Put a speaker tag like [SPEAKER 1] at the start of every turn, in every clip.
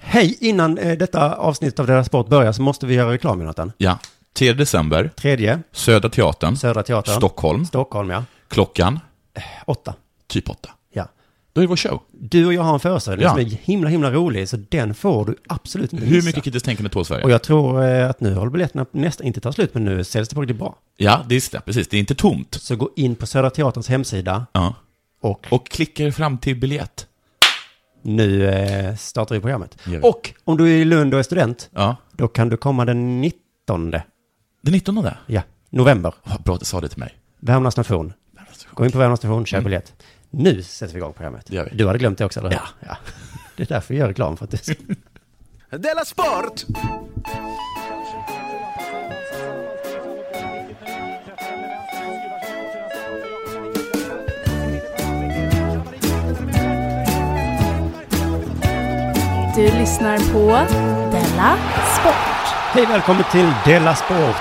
[SPEAKER 1] Hej, innan eh, detta avsnitt av Della Sport börjar så måste vi göra reklam, Jonathan.
[SPEAKER 2] Ja. 3 december,
[SPEAKER 1] Tredje,
[SPEAKER 2] Södra Teatern,
[SPEAKER 1] Södra Teatern.
[SPEAKER 2] Stockholm.
[SPEAKER 1] Stockholm, ja. Eh,
[SPEAKER 2] Klockan,
[SPEAKER 1] Åtta.
[SPEAKER 2] typ 8.
[SPEAKER 1] Ja.
[SPEAKER 2] Då är det vår show.
[SPEAKER 1] Du och jag har en föreställning
[SPEAKER 2] Ja.
[SPEAKER 1] som är himla, himla rolig, så den får du absolut inte
[SPEAKER 2] Hur
[SPEAKER 1] missa.
[SPEAKER 2] mycket kritiskt tänkande tål Sverige?
[SPEAKER 1] Och jag tror eh, att nu håller biljetterna nästan inte tar slut, men nu säljs det på riktigt bra.
[SPEAKER 2] Ja, det är det, precis. Det är inte tomt.
[SPEAKER 1] Så gå in på Södra Teaterns hemsida
[SPEAKER 2] Ja.
[SPEAKER 1] och
[SPEAKER 2] Och klickar fram till biljett.
[SPEAKER 1] nu eh, startar vi programmet.
[SPEAKER 2] Gör vi.
[SPEAKER 1] Och om du är i Lund och är student,
[SPEAKER 2] Ja.
[SPEAKER 1] då kan du komma den 19
[SPEAKER 2] Den 19 där.
[SPEAKER 1] ja, november.
[SPEAKER 2] Vad bra att du sa det till mig.
[SPEAKER 1] Värmlands station. Gå in på Värmlands station, köp biljett. Nu sätter vi igång programmet.
[SPEAKER 2] Mm. Det gör vi.
[SPEAKER 1] Du hade glömt det också, eller hur?
[SPEAKER 2] Ja.
[SPEAKER 1] Det är därför jag gör reklam för att du ska...
[SPEAKER 3] Della Sport!
[SPEAKER 4] Du lyssnar på Della Sport.
[SPEAKER 1] Hej, välkommen till Della Sport.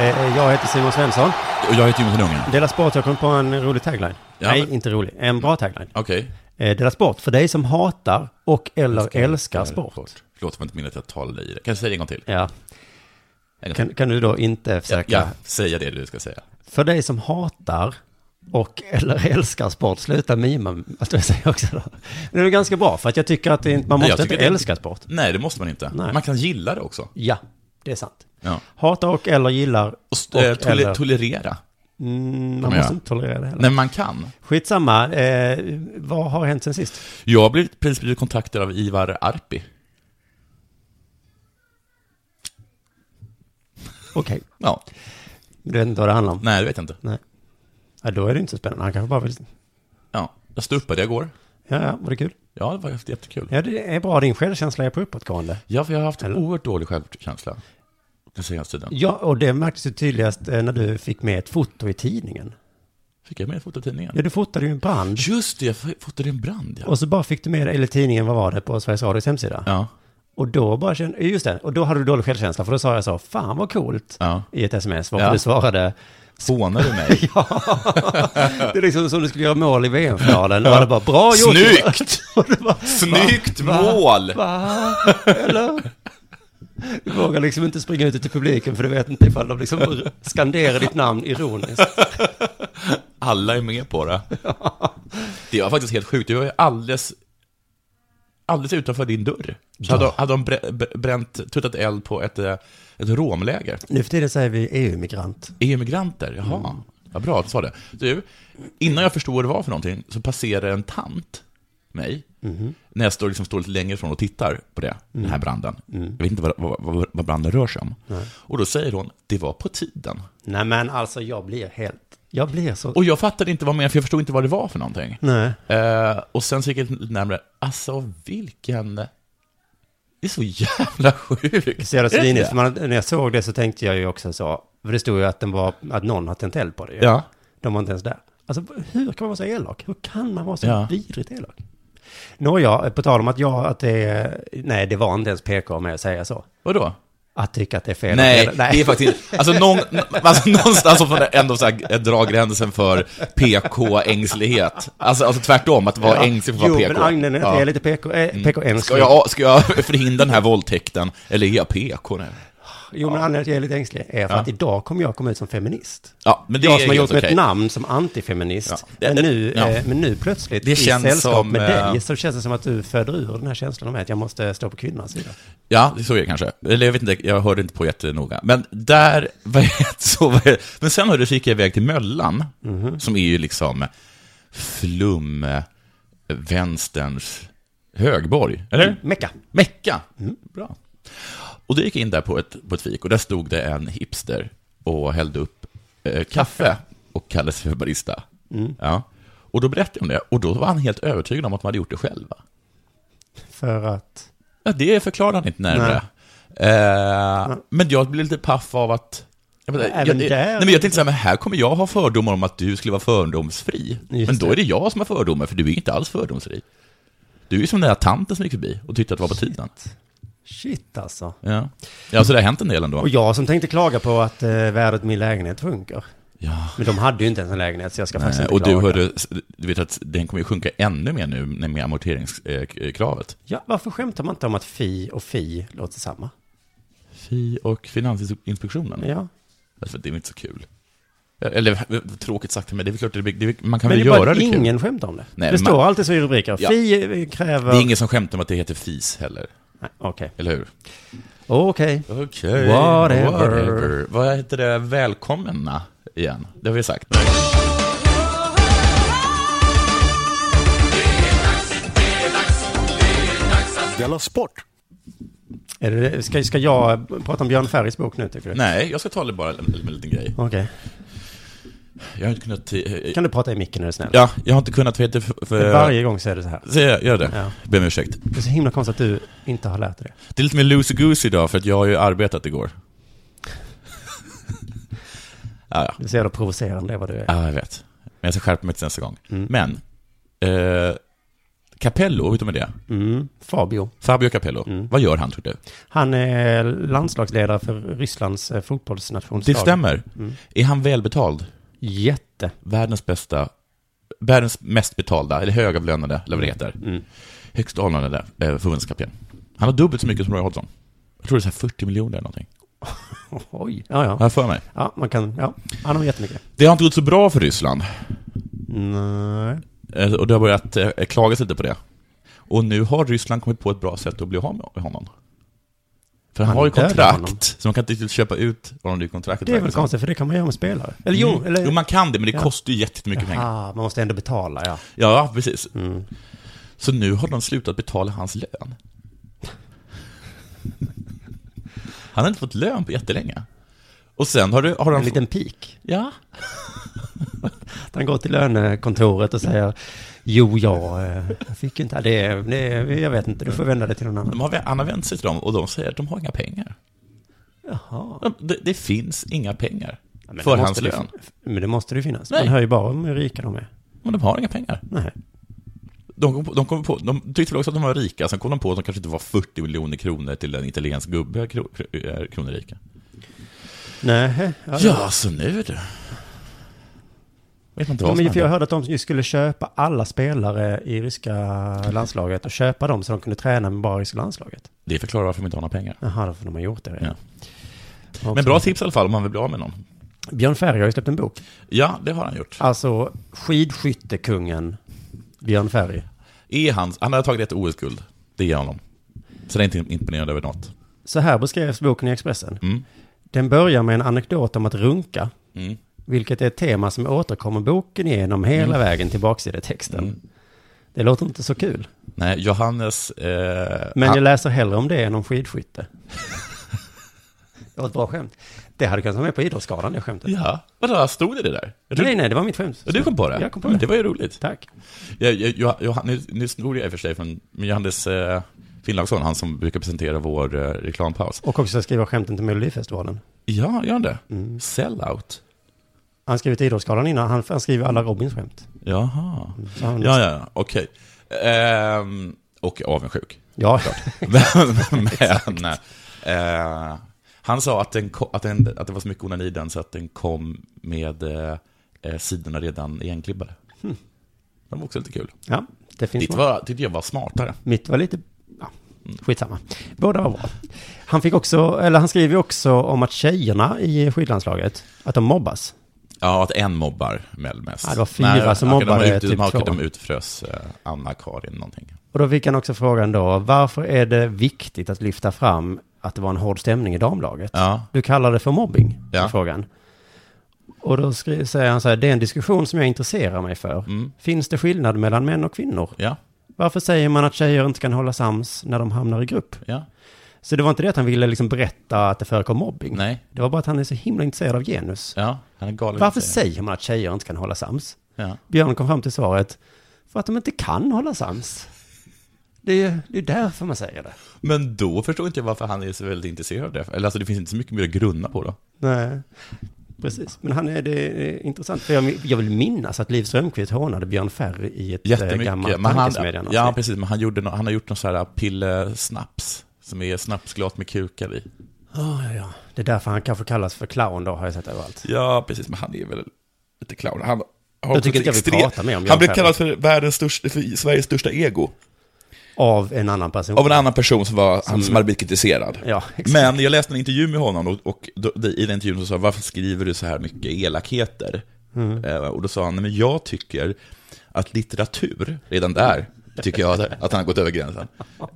[SPEAKER 1] Eh, jag heter Simon Svensson.
[SPEAKER 2] Och jag heter Jonathan Unge.
[SPEAKER 1] Della Sport, jag kom på en rolig tagline.
[SPEAKER 2] Ja,
[SPEAKER 1] Nej,
[SPEAKER 2] men-
[SPEAKER 1] inte rolig. En bra tagline.
[SPEAKER 2] Okej.
[SPEAKER 1] Eh, Della Sport, för dig som hatar och eller älskar, sport.
[SPEAKER 2] Förlåt om jag inte minns att jag talade i det. Kan du säga det en gång till?
[SPEAKER 1] Ja.
[SPEAKER 2] En gång till.
[SPEAKER 1] Kan, kan du då inte försöka?
[SPEAKER 2] Ja, säga det du ska säga.
[SPEAKER 1] För dig som hatar och eller älskar sport, sluta mima att jag säger också då. Men det är ganska bra, för att jag tycker att det, är- man
[SPEAKER 2] Nej, jag
[SPEAKER 1] måste inte
[SPEAKER 2] tycker det-
[SPEAKER 1] älska sport.
[SPEAKER 2] Nej, det måste man inte.
[SPEAKER 1] Nej.
[SPEAKER 2] Man kan gilla det också.
[SPEAKER 1] Ja, det är sant.
[SPEAKER 2] Ja.
[SPEAKER 1] Hatar och eller gillar
[SPEAKER 2] Och, st-
[SPEAKER 1] och
[SPEAKER 2] eh, tole-
[SPEAKER 1] eller...
[SPEAKER 2] tolerera.
[SPEAKER 1] Mm, man
[SPEAKER 2] man
[SPEAKER 1] måste
[SPEAKER 2] göra.
[SPEAKER 1] inte tolerera det heller.
[SPEAKER 2] Nej, men man kan.
[SPEAKER 1] Skitsamma, eh, vad har hänt sen sist?
[SPEAKER 2] Jag har blivit, precis blivit kontaktad av Ivar Arpi.
[SPEAKER 1] Okej,
[SPEAKER 2] Ja.
[SPEAKER 1] du vet inte vad det handlar om?
[SPEAKER 2] Nej, det vet jag inte.
[SPEAKER 1] Nej. Ja, då är det inte så spännande. Han kanske bara vill...
[SPEAKER 2] Ja. Jag stupade igår.
[SPEAKER 1] Ja, ja, var det kul?
[SPEAKER 2] Ja, det var jätte- jättekul.
[SPEAKER 1] Ja, det är bra. Din självkänsla är på uppåtgående.
[SPEAKER 2] Ja, för jag har haft
[SPEAKER 1] Eller?
[SPEAKER 2] oerhört dålig självkänsla den senaste tiden.
[SPEAKER 1] Ja, och det märktes ju tydligast eh, när du fick med ett foto i tidningen.
[SPEAKER 2] Fick jag med fototidningen?
[SPEAKER 1] Ja, du fotade ju en brand.
[SPEAKER 2] Just det, jag f- fotade en brand, ja.
[SPEAKER 1] Och så bara fick du med det, eller tidningen, vad var det, på Sveriges Radios hemsida.
[SPEAKER 2] Ja.
[SPEAKER 1] Och då bara kände, just det, och då hade du dålig självkänsla, för då sa jag så, fan vad coolt,
[SPEAKER 2] Ja.
[SPEAKER 1] i ett sms, varför
[SPEAKER 2] Ja.
[SPEAKER 1] du svarade,
[SPEAKER 2] Hånar du mig?
[SPEAKER 1] ja, det är liksom som du skulle göra mål i VM-finalen, och alla bara, bra gjort!
[SPEAKER 2] Snyggt!
[SPEAKER 1] Och du bara,
[SPEAKER 2] Snyggt
[SPEAKER 1] Va?
[SPEAKER 2] mål!
[SPEAKER 1] Va? Eller? Du vågar liksom inte springa ut till publiken, för du vet inte ifall de liksom skanderar ditt namn ironiskt.
[SPEAKER 2] Alla är med på det. Det var faktiskt helt sjukt. Jag var ju alldeles, alldeles utanför din dörr. Så hade, de- hade de brä- br- bränt, tuttat eld på ett, eh, ett romläger.
[SPEAKER 1] Nu för tiden säger vi E EU-migrant.
[SPEAKER 2] EU-migranter, jaha. Vad bra att du sa det. Du, innan jag förstod vad det var för någonting så passerar en tant mig. När jag står, liksom, står lite längre ifrån och tittar på det, den här branden. Jag vet inte vad, vad, vad, vad branden rör sig om. Och då säger hon, det var på tiden.
[SPEAKER 1] Nej men alltså, jag blir helt, jag blir så...
[SPEAKER 2] Och jag fattade inte vad men för jag förstod inte vad det var för någonting.
[SPEAKER 1] Nej.
[SPEAKER 2] Eh, och sen så gick jag lite närmare. Alltså vilken... Det är så jävla sjukt.
[SPEAKER 1] Så jävla
[SPEAKER 2] Är det
[SPEAKER 1] svinigt,
[SPEAKER 2] det?
[SPEAKER 1] för man, när jag såg det så tänkte jag ju också så, för det stod ju att den var, att någon har tänt eld på det ju.
[SPEAKER 2] Ja.
[SPEAKER 1] De var inte ens där. Alltså hur kan man vara så elak? Hur kan man vara så
[SPEAKER 2] Ja.
[SPEAKER 1] vidrigt elak? Nåja, på tal om att jag, att det är, nej det var inte ens PK med att säga så.
[SPEAKER 2] Vadå?
[SPEAKER 1] Att tycka att det är fel.
[SPEAKER 2] Nej,
[SPEAKER 1] att-
[SPEAKER 2] det är faktiskt Alltså, någon, alltså någonstans så får man ändå så här, dra gränsen för PK-ängslighet. Alltså, alltså tvärtom, att vara ängslig för att
[SPEAKER 1] Jo,
[SPEAKER 2] vara PK.
[SPEAKER 1] men Agne är
[SPEAKER 2] Ja. Mm.
[SPEAKER 1] lite PK, eh, PK ängslig.
[SPEAKER 2] Ska jag, ska jag förhindra den här våldtäkten, eller är jag PK nu?
[SPEAKER 1] Jo, men Agne är lite ängslig är för att idag kommer jag komma ut som feminist.
[SPEAKER 2] Ja, men det
[SPEAKER 1] jag
[SPEAKER 2] är
[SPEAKER 1] som har gjort
[SPEAKER 2] helt
[SPEAKER 1] mig
[SPEAKER 2] okej.
[SPEAKER 1] ett namn som antifeminist.
[SPEAKER 2] Ja. Det-
[SPEAKER 1] men, nu,
[SPEAKER 2] ja.
[SPEAKER 1] eh, men nu plötsligt
[SPEAKER 2] Det
[SPEAKER 1] i
[SPEAKER 2] känns
[SPEAKER 1] sällskap
[SPEAKER 2] som,
[SPEAKER 1] med
[SPEAKER 2] eh,
[SPEAKER 1] dig så känns det som att du föder ur den här känslan av att jag måste stå på kvinnornas sida.
[SPEAKER 2] Ja, så är det kanske. Eller jag vet inte, jag hörde inte på jättenoga. Men där, vad heter så, vad heter, Men sen hörde, så gick jag iväg till Möllan,
[SPEAKER 1] Mhm.
[SPEAKER 2] som är ju liksom flum, eh, vänsterns högborg. Eller?
[SPEAKER 1] Mecka.
[SPEAKER 2] Mecka.
[SPEAKER 1] Mm.
[SPEAKER 2] Bra. Och då gick jag in där på ett, på ett fik och där stod det en hipster och hällde upp eh, kaffe och kallade sig för barista.
[SPEAKER 1] Mm.
[SPEAKER 2] Ja. Och då berättade jag om det och då var han helt övertygad om att man hade gjort det själva.
[SPEAKER 1] För att...
[SPEAKER 2] Ja, det förklarar han inte närmare. Eh, men jag blev lite paff av att... Jag, vet inte,
[SPEAKER 1] Även
[SPEAKER 2] jag,
[SPEAKER 1] där-
[SPEAKER 2] nej, men jag tänkte så här, men här kommer jag ha fördomar om att du skulle vara fördomsfri.
[SPEAKER 1] Just
[SPEAKER 2] men då
[SPEAKER 1] det.
[SPEAKER 2] är det jag som har fördomar, för du är inte alls fördomsfri. Du är ju som den där tanten som gick förbi och tyckte att det var på tiden.
[SPEAKER 1] Shit alltså.
[SPEAKER 2] Ja. ja, så det har hänt en del ändå.
[SPEAKER 1] Och jag som tänkte klaga på att eh, värdet i min lägenhet sjunker.
[SPEAKER 2] Ja.
[SPEAKER 1] Men de hade ju inte ens en lägenhet, så jag ska faktiskt
[SPEAKER 2] Eh,
[SPEAKER 1] inte
[SPEAKER 2] Och du
[SPEAKER 1] klaga.
[SPEAKER 2] hörde, du vet att den kommer ju sjunka ännu mer nu när- med amorteringskravet.
[SPEAKER 1] Ja, varför skämtar man inte om att fi och fi låter samma?
[SPEAKER 2] Fi och Finansinspektionen.
[SPEAKER 1] Ja.
[SPEAKER 2] Alltså, det är väl inte så kul. Eller tråkigt sagt, men det är väl klart, det, blir- det, är- man kan
[SPEAKER 1] Men
[SPEAKER 2] väl
[SPEAKER 1] det är
[SPEAKER 2] göra
[SPEAKER 1] bara att
[SPEAKER 2] det kul.
[SPEAKER 1] ingen skämtar om det.
[SPEAKER 2] Nej,
[SPEAKER 1] det
[SPEAKER 2] men man-
[SPEAKER 1] står alltid så i rubriker.
[SPEAKER 2] Ja.
[SPEAKER 1] Fi kräver...
[SPEAKER 2] Det är ingen som skämtar om att det heter FIS heller,
[SPEAKER 1] Nej, Okej.
[SPEAKER 2] eller hur?
[SPEAKER 1] Okej.
[SPEAKER 2] Okej,
[SPEAKER 1] Whatever.
[SPEAKER 2] Vad heter det, välkomna igen? Det har vi sagt.
[SPEAKER 3] Della Sport!
[SPEAKER 1] Är det- Ska, ska jag prata om Björn Ferrys bok nu, tycker du?
[SPEAKER 2] Nej, jag ska tala bara om en, en liten grej.
[SPEAKER 1] Okej.
[SPEAKER 2] Jag har inte kunnat... eh,
[SPEAKER 1] Kan du prata i micken är du snäll?
[SPEAKER 2] Ja, eh, jag har inte kunnat, vad heter för, för,
[SPEAKER 1] Varje gång säger du så här.
[SPEAKER 2] Så jag gör det.
[SPEAKER 1] Ja.
[SPEAKER 2] Be om ursäkt.
[SPEAKER 1] Det är så himla konstigt att du inte har lärt dig det.
[SPEAKER 2] Det är lite mer loosey-goosey idag, för att jag har ju arbetat igår. ja, ja.
[SPEAKER 1] Det är så jävla provocerande vad du är. Mm.
[SPEAKER 2] ja, jag vet. Men jag ska skärpa mig till nästa gång. Men, eh, Capello, vet du med det?
[SPEAKER 1] Mm. Fabio.
[SPEAKER 2] Fabio Capello,
[SPEAKER 1] Mm.
[SPEAKER 2] vad gör han tror du?
[SPEAKER 1] Han är landslagsledare för Rysslands eh, fotbollsnationslag.
[SPEAKER 2] Det stämmer. Är han välbetald?
[SPEAKER 1] Jätte.
[SPEAKER 2] Världens bästa, världens mest betalda, eller högavlönade, eller vad det heter.
[SPEAKER 1] Mm.
[SPEAKER 2] Högst avlönade eh, förbundskapten. Han har dubbelt så mycket som Roy Hodgson. Jag tror det är så här 40 miljoner eller någonting.
[SPEAKER 1] Oj. Ja,
[SPEAKER 2] Har
[SPEAKER 1] ja.
[SPEAKER 2] jag för mig.
[SPEAKER 1] Ja, man kan... Ja. Han har jättemycket.
[SPEAKER 2] Det har inte gått så bra för Ryssland.
[SPEAKER 1] Nej.
[SPEAKER 2] Eh, Och det har börjat eh, klagas lite på det. Och nu har Ryssland kommit på ett bra sätt att bli av med honom. För han,
[SPEAKER 1] Han
[SPEAKER 2] har ju
[SPEAKER 1] dödar honom.
[SPEAKER 2] kontrakt, så man kan inte riktigt köpa ut honom ur kontraktet.
[SPEAKER 1] Det är
[SPEAKER 2] verkar
[SPEAKER 1] väl
[SPEAKER 2] som.
[SPEAKER 1] konstigt, för det kan man göra med spelare. Eller jo,
[SPEAKER 2] Mm.
[SPEAKER 1] eller...
[SPEAKER 2] Jo, man kan det, men det
[SPEAKER 1] Ja.
[SPEAKER 2] kostar ju jättemycket pengar.
[SPEAKER 1] Jaha, man måste ändå betala, ja. Mm.
[SPEAKER 2] Ja, precis. Så nu har de slutat betala hans lön. Han har inte fått lön på jättelänge. Och sen har, du, har han...
[SPEAKER 1] En liten pik.
[SPEAKER 2] Ja,
[SPEAKER 1] Han går till lönekontoret och säger Jo, jag eh, fick inte... Det, är- det, är- jag vet inte, du får vända dig till någon
[SPEAKER 2] de
[SPEAKER 1] annan.
[SPEAKER 2] har, han har vänt sig till dem och de säger att de har inga pengar.
[SPEAKER 1] Jaha.
[SPEAKER 2] De- Det, det finns inga pengar
[SPEAKER 1] Ja, men
[SPEAKER 2] för
[SPEAKER 1] det måste
[SPEAKER 2] hans
[SPEAKER 1] det
[SPEAKER 2] lön.
[SPEAKER 1] fin- Men det måste det ju finnas.
[SPEAKER 2] Nej.
[SPEAKER 1] Man hör ju bara om hur rika de är.
[SPEAKER 2] Men de har inga pengar.
[SPEAKER 1] Nej.
[SPEAKER 2] De, kom på, de, kom på, de tyckte väl också att de var rika, sen kom de på att de kanske inte var 40 miljoner kronor till en italiensk gubbe kro, kro, eh, kronor rika.
[SPEAKER 1] Nej. Ja, det-
[SPEAKER 2] Ja, så nu är det... Vet man inte
[SPEAKER 1] Ja,
[SPEAKER 2] vad som
[SPEAKER 1] men för jag
[SPEAKER 2] händer.
[SPEAKER 1] hörde att de ju skulle köpa alla spelare i ryska
[SPEAKER 2] Mm.
[SPEAKER 1] landslaget och köpa dem så de kunde träna med bara ryska landslaget.
[SPEAKER 2] Det förklarar varför de inte har några pengar.
[SPEAKER 1] Jaha, då får de ha gjort det.
[SPEAKER 2] Ja.
[SPEAKER 1] Och
[SPEAKER 2] Men
[SPEAKER 1] så-
[SPEAKER 2] bra tips i alla fall om man vill bli av med någon.
[SPEAKER 1] Björn Ferry har ju släppt en bok.
[SPEAKER 2] Ja, det har han gjort.
[SPEAKER 1] Alltså skidskyttekungen Björn Ferry.
[SPEAKER 2] Är han, han har tagit ett OS-guld. Det ger honom. Så det är inte imponerande över något.
[SPEAKER 1] Så här beskrevs boken i Expressen.
[SPEAKER 2] Mm.
[SPEAKER 1] Den börjar med en anekdot om att runka,
[SPEAKER 2] Mm.
[SPEAKER 1] vilket är ett tema som återkommer boken genom hela vägen till baksidetexten.
[SPEAKER 2] Mm.
[SPEAKER 1] Det låter inte så kul,
[SPEAKER 2] Nej, Johannes... Eh,
[SPEAKER 1] men
[SPEAKER 2] han-
[SPEAKER 1] jag läser hellre om det än om skidskytte. det var ett bra skämt. Det hade kunnat vara med på Idrottsgalan, det skämtet.
[SPEAKER 2] Ja, vadå, stod det det där? Jag tror-
[SPEAKER 1] Nej, nej, det var mitt skämt.
[SPEAKER 2] Ja, Du kom på det?
[SPEAKER 1] Jag kom på
[SPEAKER 2] Ja,
[SPEAKER 1] det.
[SPEAKER 2] men Det var ju roligt.
[SPEAKER 1] Tack.
[SPEAKER 2] Jag, jag, jag, jag, nu, nu snor jag i och för sig från men Johannes eh, Finnlaugsson, han som brukar presentera vår eh, reklampaus.
[SPEAKER 1] Och också skriva skämten till Melodifestivalen.
[SPEAKER 2] Ja, gör han det? Sellout?
[SPEAKER 1] Han skrev till Idrottsgalan innan, han, han skriver alla Robins skämt.
[SPEAKER 2] Jaha.
[SPEAKER 1] Så han,
[SPEAKER 2] Ja, ja, ja, okej. Ehm, och avundsjuk.
[SPEAKER 1] ja.
[SPEAKER 2] men men eh, han sa att, den ko- att, den, att det var så mycket onani i den så att den kom med eh, eh, sidorna redan igenklibbade. De var också lite kul.
[SPEAKER 1] ja, det finns
[SPEAKER 2] Ditt var, tyckte jag var smartare.
[SPEAKER 1] Mitt var lite... Ja, skitsamma. Båda var bra. Han fick också, eller han skriver ju också om att tjejerna i skidlandslaget, att de mobbas.
[SPEAKER 2] Ja, att en mobbar Mel mest.
[SPEAKER 1] Ja, det var fyra som
[SPEAKER 2] okej, de
[SPEAKER 1] mobbade
[SPEAKER 2] var ute-
[SPEAKER 1] typ
[SPEAKER 2] de- okej,
[SPEAKER 1] två.
[SPEAKER 2] De utfrös eh, Anna-Karin någonting.
[SPEAKER 1] Och då fick han också frågan då, varför är det viktigt att lyfta fram att det var en hård stämning i damlaget?
[SPEAKER 2] Ja,
[SPEAKER 1] Du kallar det för mobbing,
[SPEAKER 2] Ja.
[SPEAKER 1] är frågan. Och då skri- säger han så här, det är en diskussion som jag intresserar mig för.
[SPEAKER 2] Mm.
[SPEAKER 1] Finns det skillnad mellan män och kvinnor?
[SPEAKER 2] ja,
[SPEAKER 1] Varför säger man att tjejer inte kan hålla sams när de hamnar i grupp?
[SPEAKER 2] ja.
[SPEAKER 1] Så det var inte det att han ville liksom berätta att det förekom mobbing.
[SPEAKER 2] Nej,
[SPEAKER 1] Det var bara att han är så himla intresserad av genus.
[SPEAKER 2] ja. Han är galen.
[SPEAKER 1] Varför säger man att tjejer inte kan hålla sams?
[SPEAKER 2] Ja.
[SPEAKER 1] Björn kom fram till svaret, för att de inte kan hålla sams. Det är ju det är därför man säger det.
[SPEAKER 2] Men då förstår inte jag varför han är så väldigt intresserad av det. Eller alltså, det finns inte så mycket mer att grunna på då.
[SPEAKER 1] Nej. Precis, men han är, det är intressant. För jag, jag vill minnas att Liv Strömquist hånade Björn Ferry i ett eh, gammalt
[SPEAKER 2] Jättemycket. Men han,
[SPEAKER 1] tankesmedjan.
[SPEAKER 2] ja, precis. Men han, gjorde no, han har gjort någon så här pillesnaps. Som är snapsglas med kukar i.
[SPEAKER 1] Ja, ja, ja. Det är därför han kanske kallas för clown då, har jag sett överallt.
[SPEAKER 2] Ja, precis, men han är väl lite clown. Han har
[SPEAKER 1] Jag tycker inte
[SPEAKER 2] också
[SPEAKER 1] jag
[SPEAKER 2] ett
[SPEAKER 1] vill prata mer om Björn
[SPEAKER 2] Han blev
[SPEAKER 1] Ferry.
[SPEAKER 2] kallad för, världens största, för Sveriges största ego.
[SPEAKER 1] Av en annan person.
[SPEAKER 2] Av en annan person som, var, han, som hade blivit kritiserad.
[SPEAKER 1] Ja, exakt.
[SPEAKER 2] Men jag läste en intervju med honom och, och då, det- i den intervjun så sa jag, varför skriver du så här mycket elakheter? Eh, och då sa han, "Nej, men jag tycker att litteratur, redan där, tycker jag att att han har gått över gränsen,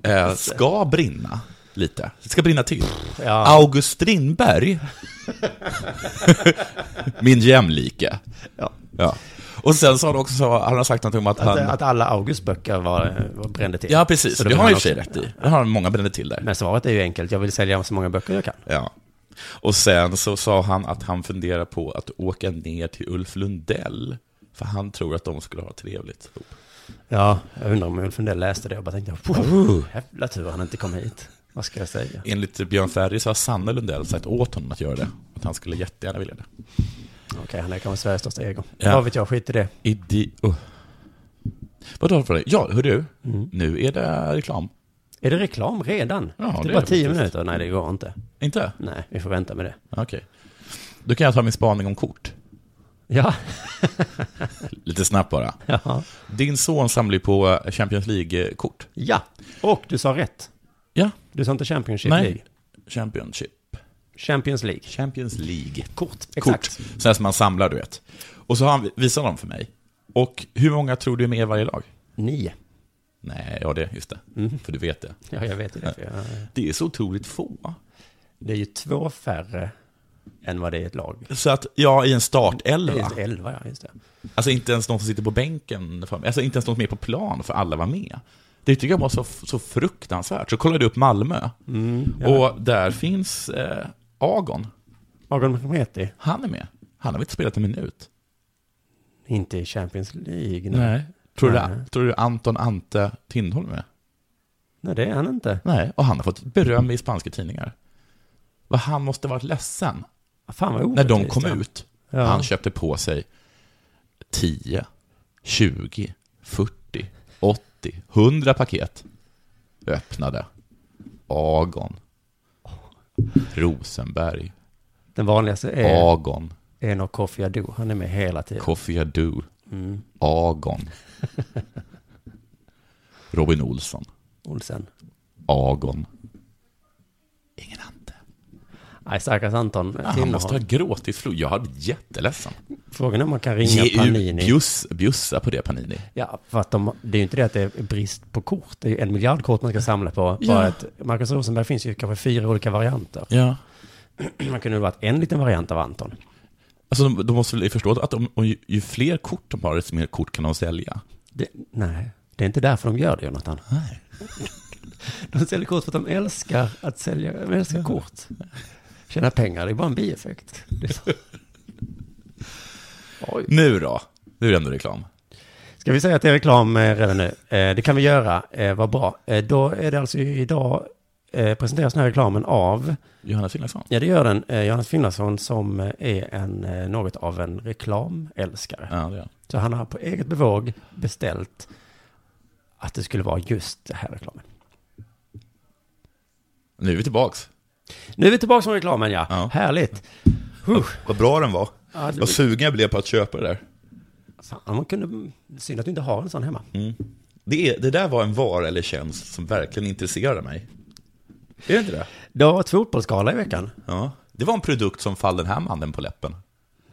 [SPEAKER 2] eh, ska brinna lite. Det ska brinna till.
[SPEAKER 1] Ja.
[SPEAKER 2] August Strindberg, min jämlike.
[SPEAKER 1] Ja.
[SPEAKER 2] Ja. Och sen så har han också så, han har sagt någonting om att
[SPEAKER 1] Att,
[SPEAKER 2] han...
[SPEAKER 1] att alla Augusts böcker var, var brände till.
[SPEAKER 2] Ja, precis.
[SPEAKER 1] Så då
[SPEAKER 2] Det
[SPEAKER 1] vill
[SPEAKER 2] har han i
[SPEAKER 1] han
[SPEAKER 2] och för sig
[SPEAKER 1] också-
[SPEAKER 2] rätt i. Det har många bränder till där.
[SPEAKER 1] Men svaret är ju enkelt. Jag vill sälja så många böcker jag kan.
[SPEAKER 2] Ja. Och sen så sa han att han funderar på att åka ner till Ulf Lundell. För han tror att de skulle ha trevligt ihop.
[SPEAKER 1] Ja, jag undrar om Ulf Lundell läste det och bara tänkte,
[SPEAKER 2] Oh."
[SPEAKER 1] "Puh, jävla tur han inte kom hit. Vad ska jag säga?
[SPEAKER 2] Enligt Björn Ferry så har Sanne Lundell sagt åt honom att göra det. Att han skulle jättegärna vilja det.
[SPEAKER 1] Okej, han är kanske Sveriges största ego.
[SPEAKER 2] Ja.
[SPEAKER 1] Vad vet jag, skit i det.
[SPEAKER 2] Idi... Oh. Vad har du för dig? Ja, hör du? Nu är det reklam.
[SPEAKER 1] Är det reklam redan?
[SPEAKER 2] Ja,
[SPEAKER 1] det är
[SPEAKER 2] det är
[SPEAKER 1] bara
[SPEAKER 2] det
[SPEAKER 1] tio
[SPEAKER 2] faktiskt.
[SPEAKER 1] minuter. Nej, det går inte.
[SPEAKER 2] Inte?
[SPEAKER 1] Nej, vi får vänta med det.
[SPEAKER 2] Okej. Då kan jag ta min spaning om kort.
[SPEAKER 1] Ja,
[SPEAKER 2] Lite snabbt bara.
[SPEAKER 1] ja.
[SPEAKER 2] Din son samlar ju på Champions League-kort.
[SPEAKER 1] ja. Och du sa rätt.
[SPEAKER 2] Ja.
[SPEAKER 1] Du sa inte Championship
[SPEAKER 2] Nej.
[SPEAKER 1] League.
[SPEAKER 2] Championship.
[SPEAKER 1] Champions League.
[SPEAKER 2] Champions League.
[SPEAKER 1] Kort.
[SPEAKER 2] kort.
[SPEAKER 1] Exakt.
[SPEAKER 2] Sådana här som man samlar, du vet. Och så har han visat dem för mig. Och hur många tror du är med i varje lag?
[SPEAKER 1] Nio.
[SPEAKER 2] Nej, ja det, just det. För du vet det.
[SPEAKER 1] Ja, jag vet ju det. för jag-
[SPEAKER 2] Mm. Det är så otroligt få.
[SPEAKER 1] Det är ju två färre än vad det är i ett lag.
[SPEAKER 2] Så att, ja, i en
[SPEAKER 1] Det
[SPEAKER 2] startelva.
[SPEAKER 1] är elva, ja, just det.
[SPEAKER 2] Alltså inte ens någon som sitter på bänken, för, alltså inte ens någon som är på plan, för alla var med. Det tycker jag var så, så fruktansvärt. Så kollade jag upp Malmö. Och där finns eh, Agon.
[SPEAKER 1] Agon Mehmeti,
[SPEAKER 2] Han är med. Han har väl inte spelat en minut?
[SPEAKER 1] inte i Champions League. Nej. Nej.
[SPEAKER 2] Nej. Tror du,
[SPEAKER 1] Nej.
[SPEAKER 2] tror du Anton Ante Tindholm är med?
[SPEAKER 1] det är han inte.
[SPEAKER 2] Nej, och han har fått beröm i spanska tidningar. Vad han måste varit ledsen
[SPEAKER 1] Ah, Fan vad
[SPEAKER 2] när
[SPEAKER 1] orättvist.
[SPEAKER 2] de kom
[SPEAKER 1] det är.
[SPEAKER 2] ut.
[SPEAKER 1] Ja.
[SPEAKER 2] Han köpte på sig 10, 20, 40, 80, 100 paket. Öppnade. Agon. Rosenberg.
[SPEAKER 1] Den vanligaste är
[SPEAKER 2] Agon.
[SPEAKER 1] en av Kofi Adu. Han är med hela tiden.
[SPEAKER 2] Kofi Adu.
[SPEAKER 1] Mm.
[SPEAKER 2] Agon. Robin Olsson.
[SPEAKER 1] Olsen.
[SPEAKER 2] Agon. Ingen ante.
[SPEAKER 1] Nej, stackars Anton.
[SPEAKER 2] Ja, Han
[SPEAKER 1] Tinnerholm.
[SPEAKER 2] måste ha gråtit flod. Jag hade blivit jätteledsen.
[SPEAKER 1] Frågan är om man kan ringa
[SPEAKER 2] Ge ut,
[SPEAKER 1] Panini.
[SPEAKER 2] bjuss, bjussa på det Panini.
[SPEAKER 1] Ja, för att de, det är ju inte det att det är brist på kort. Det är ju en miljard kort man ska samla på.
[SPEAKER 2] Ja.
[SPEAKER 1] Bara att Marcus Rosenberg finns ju kanske fyra olika varianter.
[SPEAKER 2] Ja.
[SPEAKER 1] Man kunde ha varit en liten variant av Anton.
[SPEAKER 2] Alltså de, de måste väl förstå att de, och ju, ju fler kort de har, desto mer kort kan de sälja.
[SPEAKER 1] Det, nej, det är inte därför de gör det, Jonathan.
[SPEAKER 2] Nej.
[SPEAKER 1] De säljer kort för att de älskar att sälja, de älskar kort. Tjäna pengar, det är bara en bieffekt. Det är så. Oj.
[SPEAKER 2] Nu då? Nu är det ändå reklam.
[SPEAKER 1] Ska vi säga att det är reklam eh, redan nu? Eh, det kan vi göra, eh, vad bra. Eh, då är det alltså idag eh, presenteras den här reklamen av
[SPEAKER 2] Johanna Finlandsson.
[SPEAKER 1] Ja, det gör den. Eh, Johannes Finlandsson som eh, är en, eh, något av en reklamälskare.
[SPEAKER 2] Ja, det är han.
[SPEAKER 1] Så han har på eget bevåg beställt att det skulle vara just det här reklamen.
[SPEAKER 2] Nu är vi tillbaks.
[SPEAKER 1] Nu är vi tillbaka från reklamen, ja.
[SPEAKER 2] Ja.
[SPEAKER 1] Härligt.
[SPEAKER 2] Vad bra den var.
[SPEAKER 1] Ja, det-
[SPEAKER 2] Vad sugen jag blev på att köpa det där.
[SPEAKER 1] Fan, man kunde... Synd att du inte har en sån hemma.
[SPEAKER 2] Mm. Det, är, det där var en vara eller tjänst som verkligen intresserade mig. Är det inte det?
[SPEAKER 1] Det har varit fotbollsgala i veckan.
[SPEAKER 2] Ja. Det var en produkt som fall den här mannen på läppen.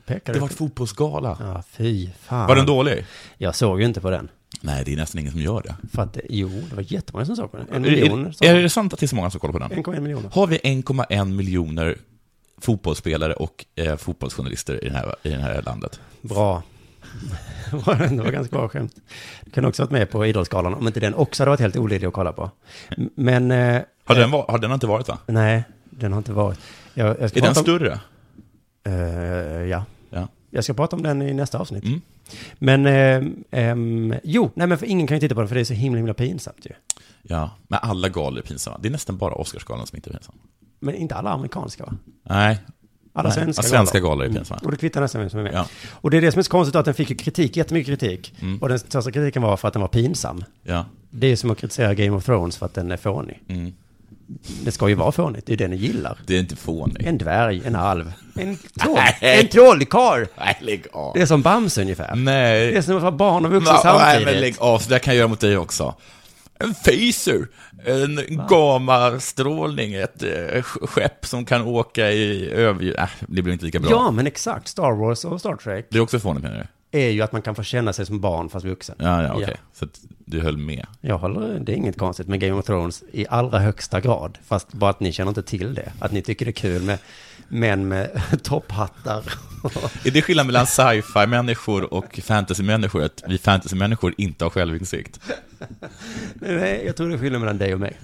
[SPEAKER 1] Pekar
[SPEAKER 2] Det
[SPEAKER 1] du
[SPEAKER 2] var
[SPEAKER 1] på-
[SPEAKER 2] ett fotbollsgala.
[SPEAKER 1] Ja, fy fan.
[SPEAKER 2] Var den dålig?
[SPEAKER 1] Jag såg ju inte på den.
[SPEAKER 2] Nej, det är nästan ingen som gör det.
[SPEAKER 1] För att, det- jo, det var jättemånga som såg på den. En
[SPEAKER 2] Är,
[SPEAKER 1] miljon.
[SPEAKER 2] är, är det sant att det är så många som kollar på den?
[SPEAKER 1] 1,1 miljoner.
[SPEAKER 2] Har vi 1,1 miljoner fotbollsspelare och eh, fotbollsjournalister i det här, i det här landet?
[SPEAKER 1] Bra. det var ganska bra skämt. Du kunde också varit med på Idrottsgalan, om inte den också hade varit helt olidlig att kolla på. M- Men, eh,
[SPEAKER 2] Har den, va- har den inte varit va?
[SPEAKER 1] nej, den har inte varit. Jag, jag ska
[SPEAKER 2] Är den
[SPEAKER 1] prata om,
[SPEAKER 2] större?
[SPEAKER 1] Eh, ja,
[SPEAKER 2] Ja.
[SPEAKER 1] jag ska prata om den i nästa avsnitt.
[SPEAKER 2] Mm.
[SPEAKER 1] Men, ehm, ehm, jo, nej men för ingen kan ju titta på den för det är så himla, himla pinsamt ju.
[SPEAKER 2] ja. Men alla galor är pinsamma. Det är nästan bara Oscarsgalan som inte är pinsam.
[SPEAKER 1] Men inte alla amerikanska va?
[SPEAKER 2] Nej.
[SPEAKER 1] Alla
[SPEAKER 2] Nej.
[SPEAKER 1] svenska,
[SPEAKER 2] Ja, svenska galor är
[SPEAKER 1] Mm.
[SPEAKER 2] pinsamma.
[SPEAKER 1] Och det kvittar nästan vem som är med.
[SPEAKER 2] Ja. Mm.
[SPEAKER 1] Och det är det som är så konstigt att den fick ju kritik, jättemycket kritik. Och den största kritiken var för att den var pinsam.
[SPEAKER 2] Ja.
[SPEAKER 1] Det är som att kritisera Game of Thrones för att den är fånig.
[SPEAKER 2] Mm.
[SPEAKER 1] Det ska ju vara fånigt, det är ju det ni gillar.
[SPEAKER 2] Det är inte fånigt.
[SPEAKER 1] En dvärg, en alv, en troll,
[SPEAKER 2] Nej.
[SPEAKER 1] en trollkarl.
[SPEAKER 2] Nej, lägg av.
[SPEAKER 1] Det är som Bamse ungefär.
[SPEAKER 2] Nej.
[SPEAKER 1] Det är som att vara barn och vuxen
[SPEAKER 2] Va- Nej, men liksom-
[SPEAKER 1] samtidigt.
[SPEAKER 2] lägg av, så där kan jag göra mot dig också. En phaser, en gamastrålning, ett eh, sk- skepp som kan åka i över... Äh, det blir inte lika bra.
[SPEAKER 1] Ja, men exakt. Star Wars och Star Trek
[SPEAKER 2] Det är också fånigt menar du?
[SPEAKER 1] är ju att man kan få känna sig som barn fast vuxen.
[SPEAKER 2] Ja, ja, okej. Så att du höll med.
[SPEAKER 1] Jag håller, det är inget konstigt med Game of Thrones i allra högsta grad. Fast bara att ni känner inte till det. Att ni tycker det är kul med män med topphattar.
[SPEAKER 2] Är det skillnad mellan sci-fi-människor och fantasy-människor? Att vi fantasy-människor inte har självinsikt?
[SPEAKER 1] Nej, jag tror det är skillnad mellan dig och mig.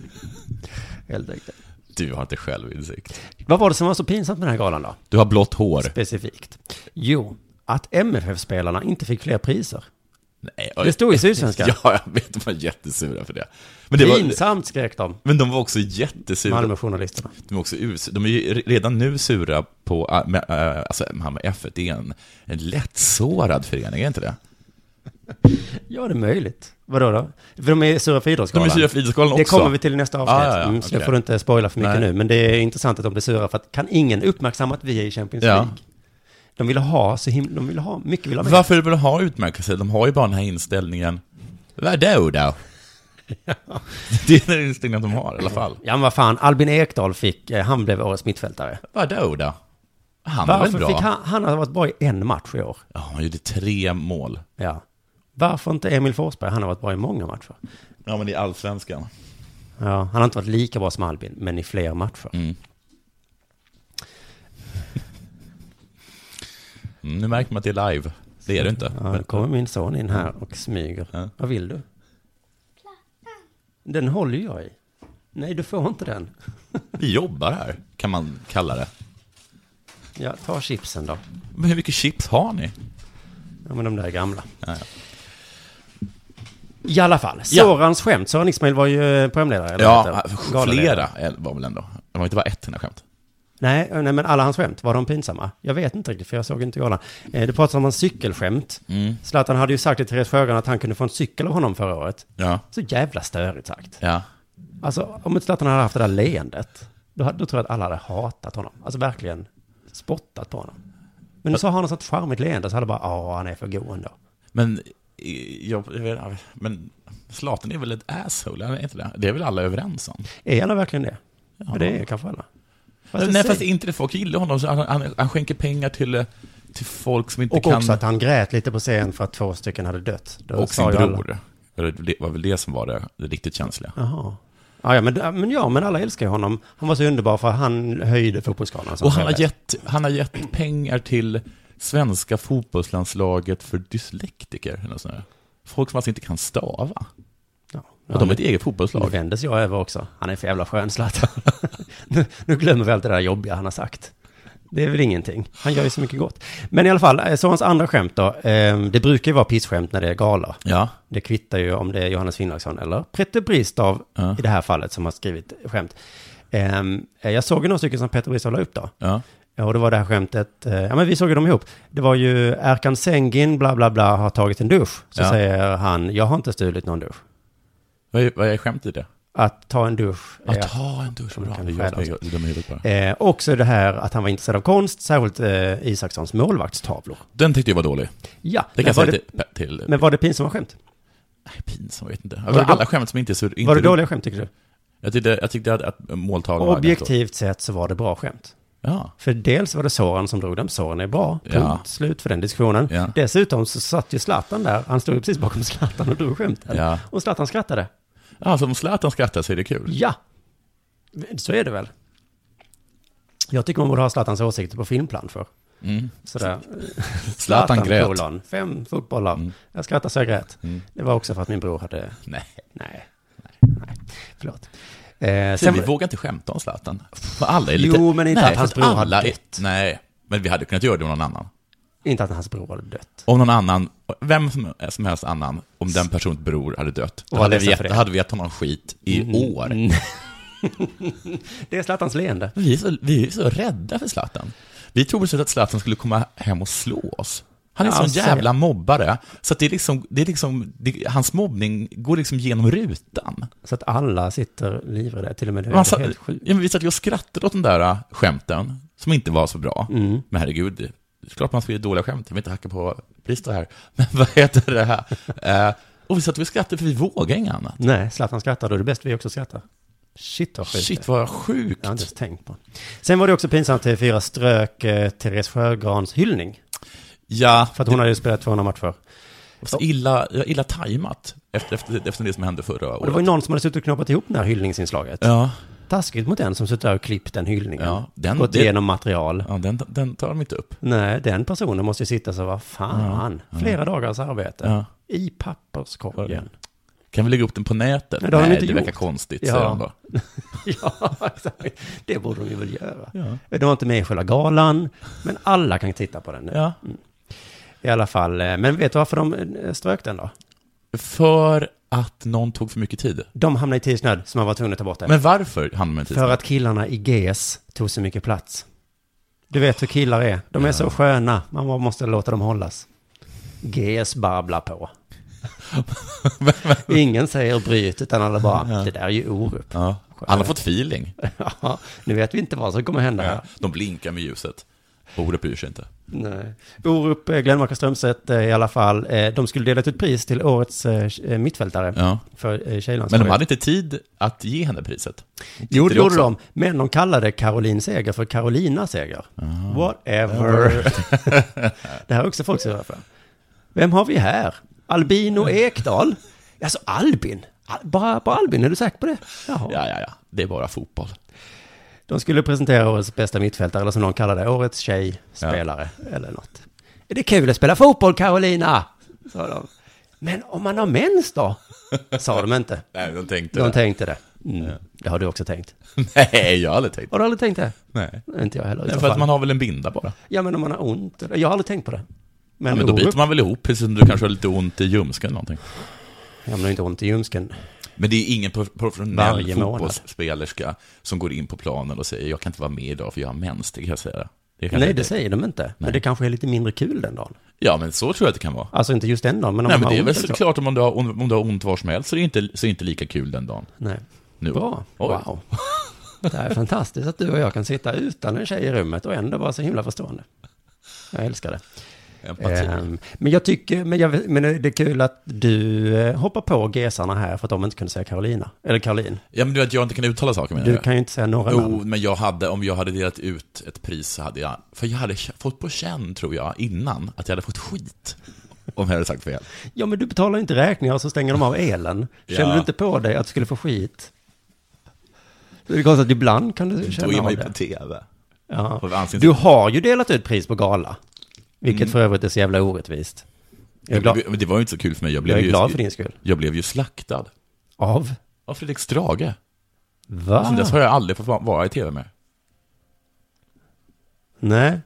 [SPEAKER 1] Helt enkelt.
[SPEAKER 2] Du har inte självinsikt.
[SPEAKER 1] Vad var det som var så pinsamt med den här galan då?
[SPEAKER 2] Du har blått hår.
[SPEAKER 1] Specifikt. Jo, att MFF-spelarna inte fick fler priser.
[SPEAKER 2] Nej,
[SPEAKER 1] Det stod i Sydsvenskan.
[SPEAKER 2] Ja, jag vet, de var jättesura för det. Men, det var,
[SPEAKER 1] Pinsamt skrek de,
[SPEAKER 2] men de var också jättesura.
[SPEAKER 1] Malmöjournalisterna.
[SPEAKER 2] De är, också us- de är ju re- redan nu sura på, äh, men, äh, alltså Malmö F1 det är en, en lättsårad förening, är det inte det?
[SPEAKER 1] Ja, det är möjligt. Vadå då? För de är sura för
[SPEAKER 2] De är
[SPEAKER 1] Idrottsgalan.
[SPEAKER 2] sura för idrottsgalan också.
[SPEAKER 1] Det kommer vi till i nästa avsnitt.
[SPEAKER 2] Ah, ja, ja,
[SPEAKER 1] mm, så det
[SPEAKER 2] okej.
[SPEAKER 1] får du inte spoila för mycket
[SPEAKER 2] Nej.
[SPEAKER 1] nu. Men det är intressant att de blir sura för att kan ingen uppmärksamma att vi är i Champions
[SPEAKER 2] Ja.
[SPEAKER 1] League? De vill ha så himla, de vill ha, mycket vill ha med.
[SPEAKER 2] Varför vill de ha utmärkelse? De har ju bara den här inställningen, vadå då? det är den inställningen de har i alla fall.
[SPEAKER 1] Ja men vad fan, Albin Ekdal fick, eh, han blev årets mittfältare.
[SPEAKER 2] Vadå då? Han var väl
[SPEAKER 1] Varför
[SPEAKER 2] bra?
[SPEAKER 1] fick
[SPEAKER 2] han?
[SPEAKER 1] han, han har varit bra i en match i år.
[SPEAKER 2] Ja, han gjorde tre mål.
[SPEAKER 1] Ja. Varför inte Emil Forsberg? Han har varit bra i många matcher.
[SPEAKER 2] Ja, men det är allsvenskan.
[SPEAKER 1] Ja, han har inte varit lika bra som Albin, men i fler matcher.
[SPEAKER 2] Mm. Mm, nu märker man att det är live. Det är det inte.
[SPEAKER 1] Ja, nu kommer min son in här och smyger.
[SPEAKER 2] Ja.
[SPEAKER 1] Vad vill du? Den håller jag i. Nej, du får inte den.
[SPEAKER 2] Vi jobbar här, kan man kalla det.
[SPEAKER 1] Ja, ta chipsen då.
[SPEAKER 2] Men hur mycket chips har ni?
[SPEAKER 1] Ja, men de där är gamla.
[SPEAKER 2] Ja,
[SPEAKER 1] I alla fall,
[SPEAKER 2] Ja.
[SPEAKER 1] Sorans skämt. Soran Ismail var ju eh, programledare. Eller vad
[SPEAKER 2] Ja,
[SPEAKER 1] heter det? Galaledare.
[SPEAKER 2] flera var väl ändå. Det var inte bara ett enda skämt.
[SPEAKER 1] Nej, eh, nej, men alla hans skämt, var de pinsamma? Jag vet inte riktigt, för jag såg inte galan. Eh, Det pratades om hans cykelskämt.
[SPEAKER 2] Mm.
[SPEAKER 1] Zlatan hade ju sagt till Therese Sjögran att han kunde få en cykel av honom förra året.
[SPEAKER 2] Ja,
[SPEAKER 1] Så jävla störigt sagt.
[SPEAKER 2] ja.
[SPEAKER 1] Alltså, om inte Zlatan hade haft det där leendet, då, hade, då tror jag att alla hade hatat honom. Alltså verkligen spottat på honom. Men nu så har han ett sånt charmigt leende, så alla bara, ja, han är för god ändå.
[SPEAKER 2] Men, eh, jag, jag vet, men Zlatan är väl ett asshole, eller är inte det? Det är väl alla överens om?
[SPEAKER 1] Är alla verkligen det? Ja. Det är kanske alla. Fast det
[SPEAKER 2] Nej,
[SPEAKER 1] säger-
[SPEAKER 2] fast inte det folk gillar honom. Så han, han, han skänker pengar till, eh, till folk som inte
[SPEAKER 1] Och
[SPEAKER 2] kan...
[SPEAKER 1] också att han grät lite på scen för att två stycken hade dött. Då
[SPEAKER 2] och
[SPEAKER 1] sa
[SPEAKER 2] sin
[SPEAKER 1] ju alla-
[SPEAKER 2] bror. Eller Det var väl det som var det, det riktigt känsliga.
[SPEAKER 1] Jaha. Ja, ja, men, ja, men ja, men alla älskar ju honom. Han var så underbar för han höjde fotbollsskalan. som
[SPEAKER 2] Och han har,
[SPEAKER 1] skälet.
[SPEAKER 2] gett, han har gett pengar till svenska fotbollslandslaget för dyslektiker. Eller något sånt där. Folk som alltså inte kan stava.
[SPEAKER 1] Ja.
[SPEAKER 2] Och de är ett eget fotbollslag.
[SPEAKER 1] Det vändes jag över också. Han är för jävla skön, Zlatan. nu, nu glömmer vi allt det där jobbiga han har sagt. Det är väl ingenting. Han gör ju så mycket gott. Men i alla fall, eh, så hans andra skämt då. Eh, Det brukar ju vara pissskämt när det är gala.
[SPEAKER 2] Ja,
[SPEAKER 1] Det kvittar ju om det är Johannes Finnlagsson eller Petter Bristav
[SPEAKER 2] Ja.
[SPEAKER 1] i det här fallet som har skrivit skämt. Ehm, Jag såg ju några stycken som Petter Bristav la upp då.
[SPEAKER 2] ja.
[SPEAKER 1] Ja, och det var det här skämtet, eh, ja men vi såg ju dem ihop. Det var ju Erkan Sengin, bla bla bla, har tagit en dusch. Så
[SPEAKER 2] Ja.
[SPEAKER 1] säger han, jag har inte stulit någon dusch.
[SPEAKER 2] Vad är, vad är skämt i det?
[SPEAKER 1] Att ta en dusch är
[SPEAKER 2] Att ta en dusch, bra.
[SPEAKER 1] kan
[SPEAKER 2] Det
[SPEAKER 1] skära
[SPEAKER 2] gör det dum i huvudet bara.
[SPEAKER 1] Eh, också det här att han var intresserad av konst, särskilt eh, Isakssons målvaktstavlor.
[SPEAKER 2] Den tyckte jag var dålig.
[SPEAKER 1] Ja,
[SPEAKER 2] Det
[SPEAKER 1] men,
[SPEAKER 2] kan jag
[SPEAKER 1] var
[SPEAKER 2] säga
[SPEAKER 1] det,
[SPEAKER 2] till... till
[SPEAKER 1] men var det pinsamma skämt?
[SPEAKER 2] nej, pinsam, jag vet inte.
[SPEAKER 1] det
[SPEAKER 2] Alltså,
[SPEAKER 1] då-
[SPEAKER 2] alla skämt som inte är så... Inte
[SPEAKER 1] Var det dåliga skämt tycker du?
[SPEAKER 2] Jag tyckte, jag tyckte att, att måltavlan var-
[SPEAKER 1] Objektivt sett så var det bra skämt.
[SPEAKER 2] Ja.
[SPEAKER 1] För dels var det Soran som drog dem, Soran är bra, punkt,
[SPEAKER 2] Ja.
[SPEAKER 1] slut för den diskussionen.
[SPEAKER 2] Ja.
[SPEAKER 1] Dessutom så satt ju Zlatan där, han stod ju precis bakom Zlatan och drog skämten.
[SPEAKER 2] Ja.
[SPEAKER 1] Och Zlatan skrattade.
[SPEAKER 2] Alltså om Zlatan skrattar så är det kul.
[SPEAKER 1] Ja, så är det väl. Jag tycker man borde ha Zlatans åsikter på filmplan för.
[SPEAKER 2] Mm.
[SPEAKER 1] Sådär.
[SPEAKER 2] Zlatan grät.
[SPEAKER 1] kolon, Fem fotbollar.
[SPEAKER 2] Mm.
[SPEAKER 1] Jag skrattar så jag grät.
[SPEAKER 2] Mm.
[SPEAKER 1] Det var också för att min bror hade...
[SPEAKER 2] Nej.
[SPEAKER 1] Nej. Nej. Förlåt. Eh,
[SPEAKER 2] Sen,
[SPEAKER 1] sen,
[SPEAKER 2] vi vågar inte skämta om Zlatan. För alla är
[SPEAKER 1] Jo,
[SPEAKER 2] lite...
[SPEAKER 1] men inte
[SPEAKER 2] nej,
[SPEAKER 1] att hans
[SPEAKER 2] för att
[SPEAKER 1] bror har
[SPEAKER 2] alla är-
[SPEAKER 1] dött.
[SPEAKER 2] Nej, men vi hade kunnat göra det om någon annan.
[SPEAKER 1] inte att hans bror hade dött.
[SPEAKER 2] Om någon annan, vem som, som helst annan, om den personens bror hade dött, då
[SPEAKER 1] Och var
[SPEAKER 2] hade, vi
[SPEAKER 1] ledsen
[SPEAKER 2] gett,
[SPEAKER 1] för det. Mm.
[SPEAKER 2] då hade vi gett honom skit i år.
[SPEAKER 1] Det är Zlatans leende.
[SPEAKER 2] Vi, är så, vi är så rädda för Zlatan. Vi trodde så att Zlatan skulle komma hem och slå oss. Han är
[SPEAKER 1] Ja,
[SPEAKER 2] sån
[SPEAKER 1] så-
[SPEAKER 2] jävla mobbare, så att det är liksom, det är liksom det, hans mobbning går liksom genom rutan.
[SPEAKER 1] Så att alla sitter livrädda, till och med du.
[SPEAKER 2] Man
[SPEAKER 1] Det
[SPEAKER 2] sa,
[SPEAKER 1] är helt
[SPEAKER 2] ja,
[SPEAKER 1] sjukt.
[SPEAKER 2] men vi satt ju och skrattade åt den där äh, skämten, som inte var så bra.
[SPEAKER 1] Mm.
[SPEAKER 2] Men herregud, det det är klart man ska göra dåliga skämt, jag vill inte hacka på Bristow här. Men vad heter det här? Eh, och vi satt och skrattade för vi vågar inget annat.
[SPEAKER 1] Nej, Zlatan skrattar, då är det bäst vi också skrattar. Shit vad sjukt.
[SPEAKER 2] Shit vad sjukt.
[SPEAKER 1] Jag har inte ens tänkt på det. Sen var det också pinsamt att TV4 strök eh, Therese Sjögrans hyllning.
[SPEAKER 2] Ja,
[SPEAKER 1] För att hon hade ju spelat 200 matcher.
[SPEAKER 2] så illa, ja, illa tajmat efter, efter, efter det som hände förra
[SPEAKER 1] Och det var ju
[SPEAKER 2] året.
[SPEAKER 1] någon som hade suttit och knoppat ihop det här hyllningsinslaget.
[SPEAKER 2] Ja,
[SPEAKER 1] Taskigt mot den som suttit där och klippt den hyllningen.
[SPEAKER 2] Ja, den-
[SPEAKER 1] Gått
[SPEAKER 2] det-
[SPEAKER 1] igenom material.
[SPEAKER 2] ja den, den tar de inte upp.
[SPEAKER 1] Nej, den personen måste ju sitta så, vad fan, flera dagars arbete.
[SPEAKER 2] Ja.
[SPEAKER 1] I papperskorgen.
[SPEAKER 2] Kan vi lägga upp den på nätet?
[SPEAKER 1] Nej, det har de inte
[SPEAKER 2] det verkar
[SPEAKER 1] gjort.
[SPEAKER 2] konstigt,
[SPEAKER 1] Ja.
[SPEAKER 2] säger de då.
[SPEAKER 1] ja, exakt. Det borde de ju väl göra.
[SPEAKER 2] Ja.
[SPEAKER 1] De var inte med i själva galan, men alla kan titta på den nu.
[SPEAKER 2] Ja.
[SPEAKER 1] I alla fall, eh, men vet du varför de eh, strök den då?
[SPEAKER 2] För att någon tog för mycket tid.
[SPEAKER 1] De hamnade i tidsnöd, så man var tvungen att ta bort den.
[SPEAKER 2] Men varför hamnade man i
[SPEAKER 1] För
[SPEAKER 2] tidsnöd?
[SPEAKER 1] att killarna i GS tog så mycket plats. Du vet hur killar är. De är så sköna. Man bara måste låta dem hållas. GS babblar på. Ingen säger bryt, utan alla bara, det där är ju Orup.
[SPEAKER 2] Ja. Alla har fått feeling.
[SPEAKER 1] Ja, nu vet vi inte vad som kommer hända här.
[SPEAKER 2] De blinkar med ljuset. Orup bryr sig inte.
[SPEAKER 1] Nej. Orup, eh, Glenmark och Strömstedt eh, i alla fall, eh, de skulle dela ut ett pris till årets eh, eh, mittfältare
[SPEAKER 2] Ja.
[SPEAKER 1] för eh,
[SPEAKER 2] Men
[SPEAKER 1] tjejlandslaget.
[SPEAKER 2] de hade inte tid att ge henne priset.
[SPEAKER 1] Jo, det
[SPEAKER 2] det
[SPEAKER 1] gjorde
[SPEAKER 2] också.
[SPEAKER 1] de. Men de kallade Caroline Seger för Carolina Seger.
[SPEAKER 2] Ah.
[SPEAKER 1] Whatever. det här är också folk som hör för. Vem har vi här? Albino Ekdal? Alltså Albin? Al- Bara, bara Albin, är du säker på det? Jaha.
[SPEAKER 2] Ja, ja, ja. Det är bara fotboll.
[SPEAKER 1] De skulle presentera årets bästa mittfältare, eller som någon kallade det, årets tjej, spelare, eller något. Är det kul att spela fotboll, Carolina? Sa de. Men om man har mens då? Sa de inte.
[SPEAKER 2] Nej, de tänkte
[SPEAKER 1] De tänkte det. Mm. Det har du också tänkt.
[SPEAKER 2] Nej, jag har aldrig tänkt.
[SPEAKER 1] Har du aldrig tänkt det?
[SPEAKER 2] Nej.
[SPEAKER 1] Inte jag heller. i
[SPEAKER 2] Nej,
[SPEAKER 1] så
[SPEAKER 2] för att
[SPEAKER 1] fall.
[SPEAKER 2] man har väl en binda bara.
[SPEAKER 1] Ja, men om man har ont. eller- Jag har aldrig tänkt på det. Men,
[SPEAKER 2] Ja, men då
[SPEAKER 1] Orup-
[SPEAKER 2] biter man väl ihop, precis som du kanske har lite ont i ljumsken eller någonting.
[SPEAKER 1] Ja, men det är inte ont i ljumsken.
[SPEAKER 2] Men det är ingen prof- professionell
[SPEAKER 1] Varje månad.
[SPEAKER 2] fotbollsspelerska som går in på planen och säger jag kan inte vara med idag för jag har mens, det kan jag säga. Det kan
[SPEAKER 1] Nej,
[SPEAKER 2] jag
[SPEAKER 1] det
[SPEAKER 2] inte.
[SPEAKER 1] säger de inte. Men det kanske är lite mindre kul den dagen.
[SPEAKER 2] Ja, men så tror jag att det kan vara.
[SPEAKER 1] Alltså inte just den dagen, men om
[SPEAKER 2] Nej,
[SPEAKER 1] man
[SPEAKER 2] men det är
[SPEAKER 1] har
[SPEAKER 2] väl
[SPEAKER 1] ont. eller så.
[SPEAKER 2] såklart om du har, om du har ont var som helst så är det inte, så är det inte lika kul den dagen.
[SPEAKER 1] Nej.
[SPEAKER 2] Nu.
[SPEAKER 1] Bra.
[SPEAKER 2] Oj.
[SPEAKER 1] Wow. Det här är fantastiskt att du och jag kan sitta utan en tjej i rummet och ändå vara så himla förstående. Jag älskar det.
[SPEAKER 2] Empati.
[SPEAKER 1] Ehm, men jag tycker, men, jag, men det är kul att du eh, hoppar på gesarna här för att de inte kunde säga Carolina. Eller Caroline.
[SPEAKER 2] Ja, men du vet, jag inte kan uttala saker menar
[SPEAKER 1] Du
[SPEAKER 2] jag.
[SPEAKER 1] kan ju inte säga några namn.
[SPEAKER 2] Jo, men jag hade, om jag hade delat ut ett pris så hade jag, för jag hade k- fått på känn tror jag innan att jag hade fått skit. Om jag hade sagt fel.
[SPEAKER 1] Ja, men du betalar inte räkningar och så stänger de av elen.
[SPEAKER 2] Ja.
[SPEAKER 1] Känner du inte på dig att du skulle få skit? Det är konstigt att ibland kan du
[SPEAKER 2] Då är
[SPEAKER 1] känna
[SPEAKER 2] man
[SPEAKER 1] av
[SPEAKER 2] ju på
[SPEAKER 1] det.
[SPEAKER 2] TV.
[SPEAKER 1] Ja.
[SPEAKER 2] På ansiktet.
[SPEAKER 1] Du har ju delat ut pris på gala, vilket
[SPEAKER 2] Mm.
[SPEAKER 1] för övrigt är så jävla orättvist. Jag är glad,
[SPEAKER 2] Men det var ju inte så kul för mig, jag blev,
[SPEAKER 1] jag är
[SPEAKER 2] ju,
[SPEAKER 1] glad för din skull.
[SPEAKER 2] jag blev ju slaktad.
[SPEAKER 1] Av?
[SPEAKER 2] Av Fredrik Strage. Sen
[SPEAKER 1] Va?
[SPEAKER 2] dess har jag aldrig fått va- vara i TV mer.
[SPEAKER 1] Nej.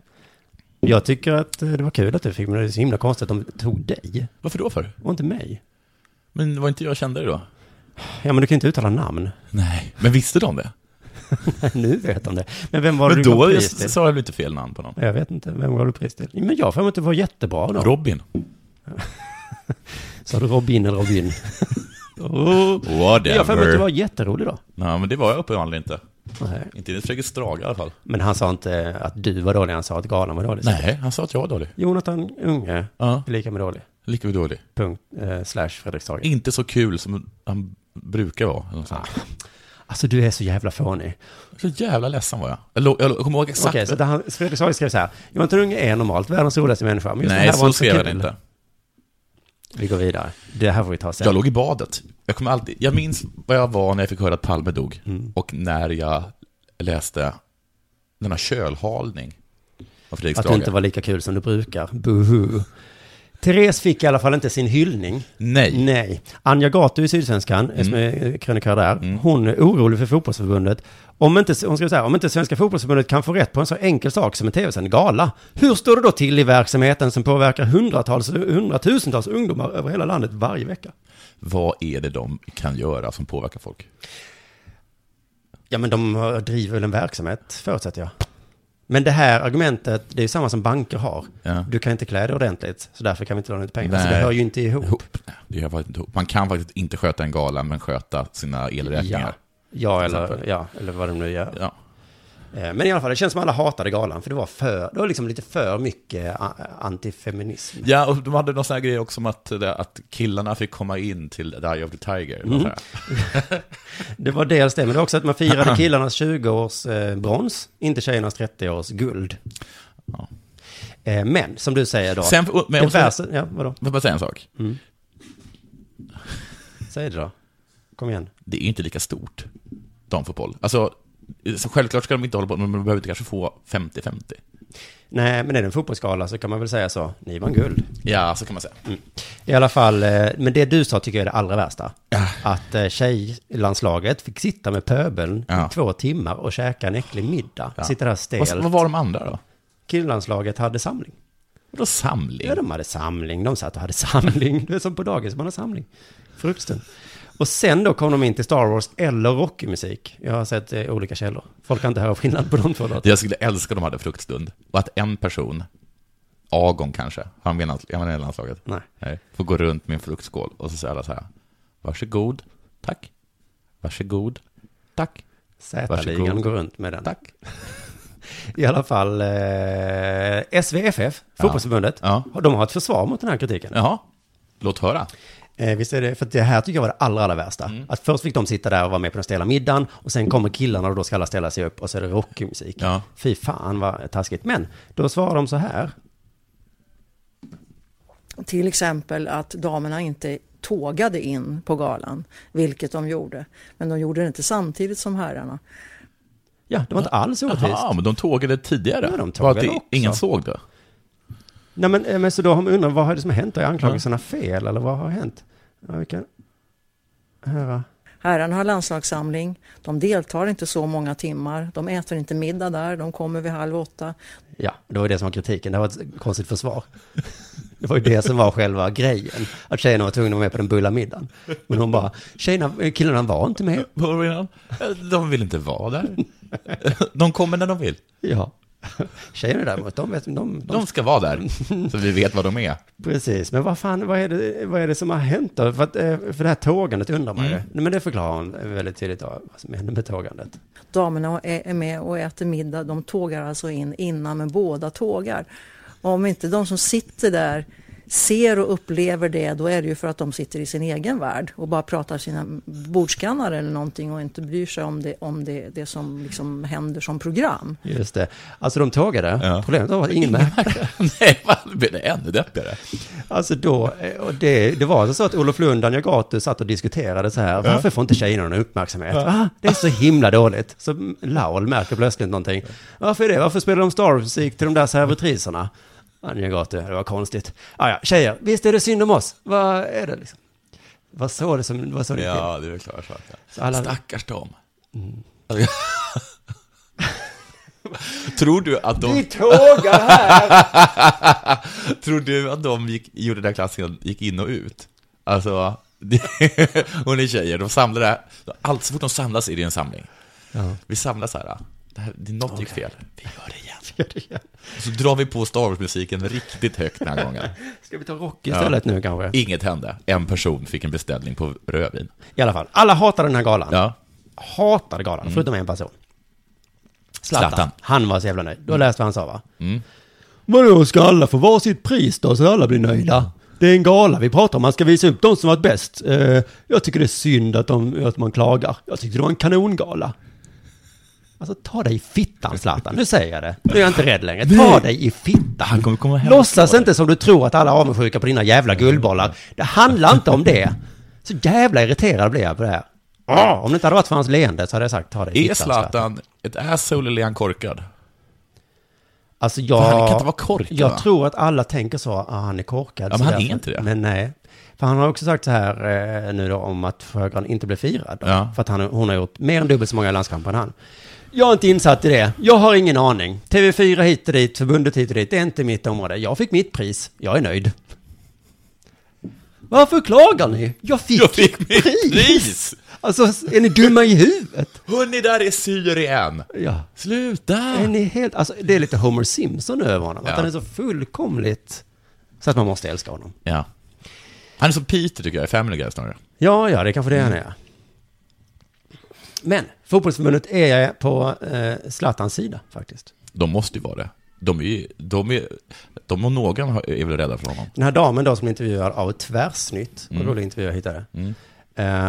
[SPEAKER 1] Jag tycker att eh, det var kul att du fick, men det är så himla konstigt att de tog dig
[SPEAKER 2] Varför då för?
[SPEAKER 1] och inte mig.
[SPEAKER 2] Men det var inte jag kände det då?
[SPEAKER 1] Ja, men du kan ju inte uttala namn.
[SPEAKER 2] Nej. Men visste de det?
[SPEAKER 1] nu vet han det. Men vem var det
[SPEAKER 2] Men
[SPEAKER 1] du gav
[SPEAKER 2] då
[SPEAKER 1] pris till?
[SPEAKER 2] sa jag väl inte fel namn på någon?
[SPEAKER 1] Jag vet inte, vem gav du pris till? Men jag har för mig att det var jättebra då.
[SPEAKER 2] Robin.
[SPEAKER 1] Sa du Robin eller Robin? oh. Jag har för mig att du var
[SPEAKER 2] Whatever.
[SPEAKER 1] jätterolig då.
[SPEAKER 2] Nej, men det var jag uppenbarligen inte. Inte enligt Fredrik Strage i alla fall.
[SPEAKER 1] Men han sa inte att du var dålig, han sa att galan var dålig.
[SPEAKER 2] Nej, han sa att jag var dålig.
[SPEAKER 1] Jonathan Unge
[SPEAKER 2] Ja,
[SPEAKER 1] är lika med dålig.
[SPEAKER 2] lika med dålig.
[SPEAKER 1] Punkt. Eh, slash Fredrik Sagen.
[SPEAKER 2] Inte så kul som han brukar vara. eller något sånt.
[SPEAKER 1] Alltså du är så jävla fånig.
[SPEAKER 2] Så jävla ledsen var jag. Jag, lå- jag lå- kommer ihåg exakt.
[SPEAKER 1] Okej, så där han, Fredrik Sagen skrev så här. Jonathan Unge är normalt världens roligaste människa. Men just det
[SPEAKER 2] Nej,
[SPEAKER 1] här var
[SPEAKER 2] så
[SPEAKER 1] inte
[SPEAKER 2] skrev jag det
[SPEAKER 1] kul.
[SPEAKER 2] inte.
[SPEAKER 1] Vi går vidare. Det här får vi ta sen.
[SPEAKER 2] Jag låg i badet. Jag, kommer alltid, jag minns vad jag var när jag fick höra att Palme dog.
[SPEAKER 1] Mm.
[SPEAKER 2] Och när jag läste denna kölhalning av Fredrik
[SPEAKER 1] Att du
[SPEAKER 2] Strage.
[SPEAKER 1] inte var lika kul som du brukar. Buhu. Therese fick i alla fall inte sin hyllning.
[SPEAKER 2] Nej.
[SPEAKER 1] Nej. Anja Gato i Sydsvenskan,
[SPEAKER 2] Mm.
[SPEAKER 1] som är eh, krönikör där, hon är orolig för fotbollsförbundet. Om inte, hon skrev så här, om inte Svenska fotbollsförbundet kan få rätt på en så enkel sak som en tv-sänd gala, hur står det då till i verksamheten som påverkar hundratals, hundratusentals ungdomar över hela landet varje vecka?
[SPEAKER 2] Vad är det de kan göra som påverkar folk?
[SPEAKER 1] Ja, men de eh, driver väl en verksamhet, förutsätter jag. Men det här argumentet, det är ju samma som banker har.
[SPEAKER 2] Ja.
[SPEAKER 1] Du kan inte klä dig ordentligt, så därför kan vi inte låna ut pengar. Så
[SPEAKER 2] Nej.
[SPEAKER 1] det hör ju inte ihop.
[SPEAKER 2] Ihop. Det gör faktiskt inte ihop. Man kan faktiskt inte sköta en gala, men sköta sina
[SPEAKER 1] Ja.
[SPEAKER 2] elräkningar.
[SPEAKER 1] Ja,
[SPEAKER 2] Till
[SPEAKER 1] eller,
[SPEAKER 2] exempel.
[SPEAKER 1] ja, eller vad de nu gör.
[SPEAKER 2] Ja.
[SPEAKER 1] Eh, Men i alla fall, det känns som alla hatade galan, för det var för, det var liksom lite för mycket eh, a- antifeminism.
[SPEAKER 2] Ja, och de hade någon sån här grej också om att, det- att killarna fick komma in till The Eye of the Tiger. Mm.
[SPEAKER 1] Det var dels det, men det var också att man firade killarnas 20-års eh, brons, inte tjejernas 30-års guld.
[SPEAKER 2] Ja.
[SPEAKER 1] Eh, men, som du säger då,
[SPEAKER 2] Sen, men
[SPEAKER 1] det
[SPEAKER 2] jag måste,
[SPEAKER 1] värsta, ja, vadå?
[SPEAKER 2] jag bara säga en sak.
[SPEAKER 1] Säg det då. Kom igen.
[SPEAKER 2] Det är ju inte lika stort, damfotboll. Alltså, så självklart ska de inte hålla på, men de behöver inte kanske få 50-50.
[SPEAKER 1] Nej, men är det en fotbollsskala så kan man väl säga så, ni vann guld.
[SPEAKER 2] Ja, så kan man säga.
[SPEAKER 1] Mm. I alla fall, eh, men det du sa tycker jag är det allra värsta.
[SPEAKER 2] Ja.
[SPEAKER 1] Att eh, tjejlandslaget fick sitta med pöbeln
[SPEAKER 2] Ja.
[SPEAKER 1] i två timmar och käka en äcklig middag.
[SPEAKER 2] Ja.
[SPEAKER 1] Sitta där
[SPEAKER 2] Vad,
[SPEAKER 1] stelt.
[SPEAKER 2] vad var de andra då?
[SPEAKER 1] Killandslaget hade samling.
[SPEAKER 2] Vadå samling?
[SPEAKER 1] Ja, de hade samling. De satt och hade samling. Det är som på dagis, man har samling. Frukosten. Och sen då kom de in till Star Wars eller Rocky-musik. Jag har sett eh, olika källor. Folk kan inte höra skillnad på de två låtarna.
[SPEAKER 2] Jag skulle älska om de hade fruktstund. Och att en person, Agon kanske, han menar jag menar i landslaget,
[SPEAKER 1] Nej.
[SPEAKER 2] nej, får gå runt med en fruktskål och så säger alla så här, varsågod, tack, varsågod, tack,
[SPEAKER 1] Z-ligan
[SPEAKER 2] Varsågod.
[SPEAKER 1] går runt med den.
[SPEAKER 2] tack.
[SPEAKER 1] I alla fall, eh, SVFF, fotbollsförbundet,
[SPEAKER 2] Ja.
[SPEAKER 1] de har ett försvar mot den här kritiken.
[SPEAKER 2] Jaha, låt höra.
[SPEAKER 1] Eh, visst är det, för att det här tycker jag var det allra, allra värsta.
[SPEAKER 2] Mm.
[SPEAKER 1] Att först fick de sitta där och vara med på den stela middagen och sen kommer killarna och då ska alla ställa sig upp och så är det rockmusik.
[SPEAKER 2] Ja.
[SPEAKER 1] Fy fan vad taskigt. Men då svarar de så här.
[SPEAKER 5] Till exempel att damerna inte tågade in på galan, vilket de gjorde. Men de gjorde det inte samtidigt som herrarna.
[SPEAKER 1] Ja, det var inte alls orättvist.
[SPEAKER 2] Jaha, men de tågade tidigare.
[SPEAKER 1] Ja, de tågade
[SPEAKER 2] Bara att det-
[SPEAKER 1] också.
[SPEAKER 2] Ingen såg det.
[SPEAKER 1] Nej, men, eh, men så då har man undrat, vad är det som har hänt? Är anklagelserna fel eller vad har hänt? Ja, vi kan höra.
[SPEAKER 5] Herrarna har landslagssamling, de deltar inte så många timmar, de äter inte middag där, de kommer vid halv åtta.
[SPEAKER 1] Ja, det var ju det som var kritiken. Det var ett konstigt försvar. Det var ju det som var själva grejen. Att tjejerna var tvungna att vara med på den bulla middagen. Men hon bara, tjejerna, eh, killarna var inte med.
[SPEAKER 2] Vad var det innan? De vill inte vara där. De kommer när de vill.
[SPEAKER 1] Ja. Tjejerna däremot, de vet, de, de,
[SPEAKER 2] De ska vara där, så vi vet vad de är.
[SPEAKER 1] Precis, men vad fan, vad är det, vad är det som har hänt då? För, att, eh, för det här tågandet undrar man ju. Nej, Men det förklarar hon väldigt tydligt då, vad som hände med tågandet.
[SPEAKER 5] Damerna är är med och äter middag, de tågar alltså in innan, men båda tågar. Om inte de som sitter där ser och upplever det, då är det ju för att de sitter i sin egen värld och bara pratar sina bordskannar eller någonting och inte bryr sig om det, om det, det som liksom händer som program.
[SPEAKER 1] Just det. Alltså de tågade, problemet var att ingen märkte.
[SPEAKER 2] Nej, vad, det blir det ännu deppigare.
[SPEAKER 1] Alltså då, eh, och det, det var alltså så att Olof Lundan och Gatus satt och diskuterade så här, varför får inte tjejerna någon uppmärksamhet? Ah, det är så himla dåligt. Så Laul märker plötsligt någonting. Varför är det? Varför spelar de Star-musik till de där servitriserna? Anja Gatu, det var konstigt. Ah, ja, tjejer, visst är det synd om oss? Vad är det liksom? Vad så det som, vad så det gick till?
[SPEAKER 2] Ja, det är väl klart. klart,
[SPEAKER 1] Så
[SPEAKER 2] Ja.
[SPEAKER 1] alla-
[SPEAKER 2] Stackars dem. Mm. tror, du att de,
[SPEAKER 1] tågar här!
[SPEAKER 2] tror du att de gick, gjorde den där klassen, gick in och ut? Alltså, det, hon är tjejer, de samlade, allt så fort de samlas är det en samling. Vi samlas här, det här det, något gick fel. Vi gör det igen. Så drar vi på Star Wars-musiken riktigt högt den här gången.
[SPEAKER 1] Ska vi ta Rocky istället nu kanske?
[SPEAKER 2] Inget hände. En person fick en beställning på rödvin.
[SPEAKER 1] I alla fall, alla hatar den här galan.
[SPEAKER 2] Ja. Mm.
[SPEAKER 1] hatade galan, förutom en person. Zlatan.
[SPEAKER 2] Zlatan. Mm.
[SPEAKER 1] Han var så jävla nöjd. Då läste vi vad han sa va? Vadå, ska alla få var sitt pris då så alla blir nöjda? Det är en gala vi pratar om, man ska visa upp de som varit bäst. Eh, jag tycker det är synd att, de, att man klagar. Jag tyckte det var en kanongala. Alltså ta dig i fittan Zlatan, nu säger jag det. Nu är jag inte rädd längre. Ta dig i fittan.
[SPEAKER 2] Han kommer komma hem och
[SPEAKER 1] Låtsas
[SPEAKER 2] slå
[SPEAKER 1] inte som du tror att alla är avundsjuka på dina jävla guldbollar. Det handlar inte om det. Så jävla irriterad blev jag på det här. Åh, om det inte hade varit för hans leende så hade jag sagt ta dig i
[SPEAKER 2] Är
[SPEAKER 1] fittan Zlatan.
[SPEAKER 2] Zlatan ett asshole eller är han korkad?
[SPEAKER 1] Alltså
[SPEAKER 2] För han
[SPEAKER 1] jag...
[SPEAKER 2] kan inte vara korkad,
[SPEAKER 1] Jag
[SPEAKER 2] va?
[SPEAKER 1] tror att alla tänker så, ah, han är korkad.
[SPEAKER 2] Ja, men
[SPEAKER 1] så
[SPEAKER 2] han är
[SPEAKER 1] därför-
[SPEAKER 2] inte det.
[SPEAKER 1] Men nej. För han har också sagt så här eh, nu då om att Sjögran inte blev firad. Då,
[SPEAKER 2] Ja.
[SPEAKER 1] För att han, hon har gjort mer än dubbelt så många landskamper än han. Jag är inte insatt i det. Jag har ingen aning. TV4 hit och dit, förbundet hit och dit. Det är inte mitt område. Jag fick mitt pris. Jag är nöjd. Varför klagar ni? Jag fick,
[SPEAKER 2] Jag fick mitt pris!
[SPEAKER 1] Alltså, är ni dumma i huvudet?
[SPEAKER 2] Hörni, där är Syrien!
[SPEAKER 1] Ja.
[SPEAKER 2] Sluta!
[SPEAKER 1] Är ni helt, alltså, det är lite Homer Simpson över honom.
[SPEAKER 2] Ja.
[SPEAKER 1] Att han är så fullkomligt så att man måste älska honom.
[SPEAKER 2] Ja. Han är som Peter tycker jag, i Family Guy snarare.
[SPEAKER 1] Ja, ja, det är kanske det han är. Mm. Men fotbollsförbundet är på eh, Zlatans sida faktiskt.
[SPEAKER 2] De måste ju vara det. De är ju, de är, de och någon har- är väl rädda för honom.
[SPEAKER 1] Den här damen då som intervjuar av Tvärsnytt, vad rolig intervju jag hittade. Eh,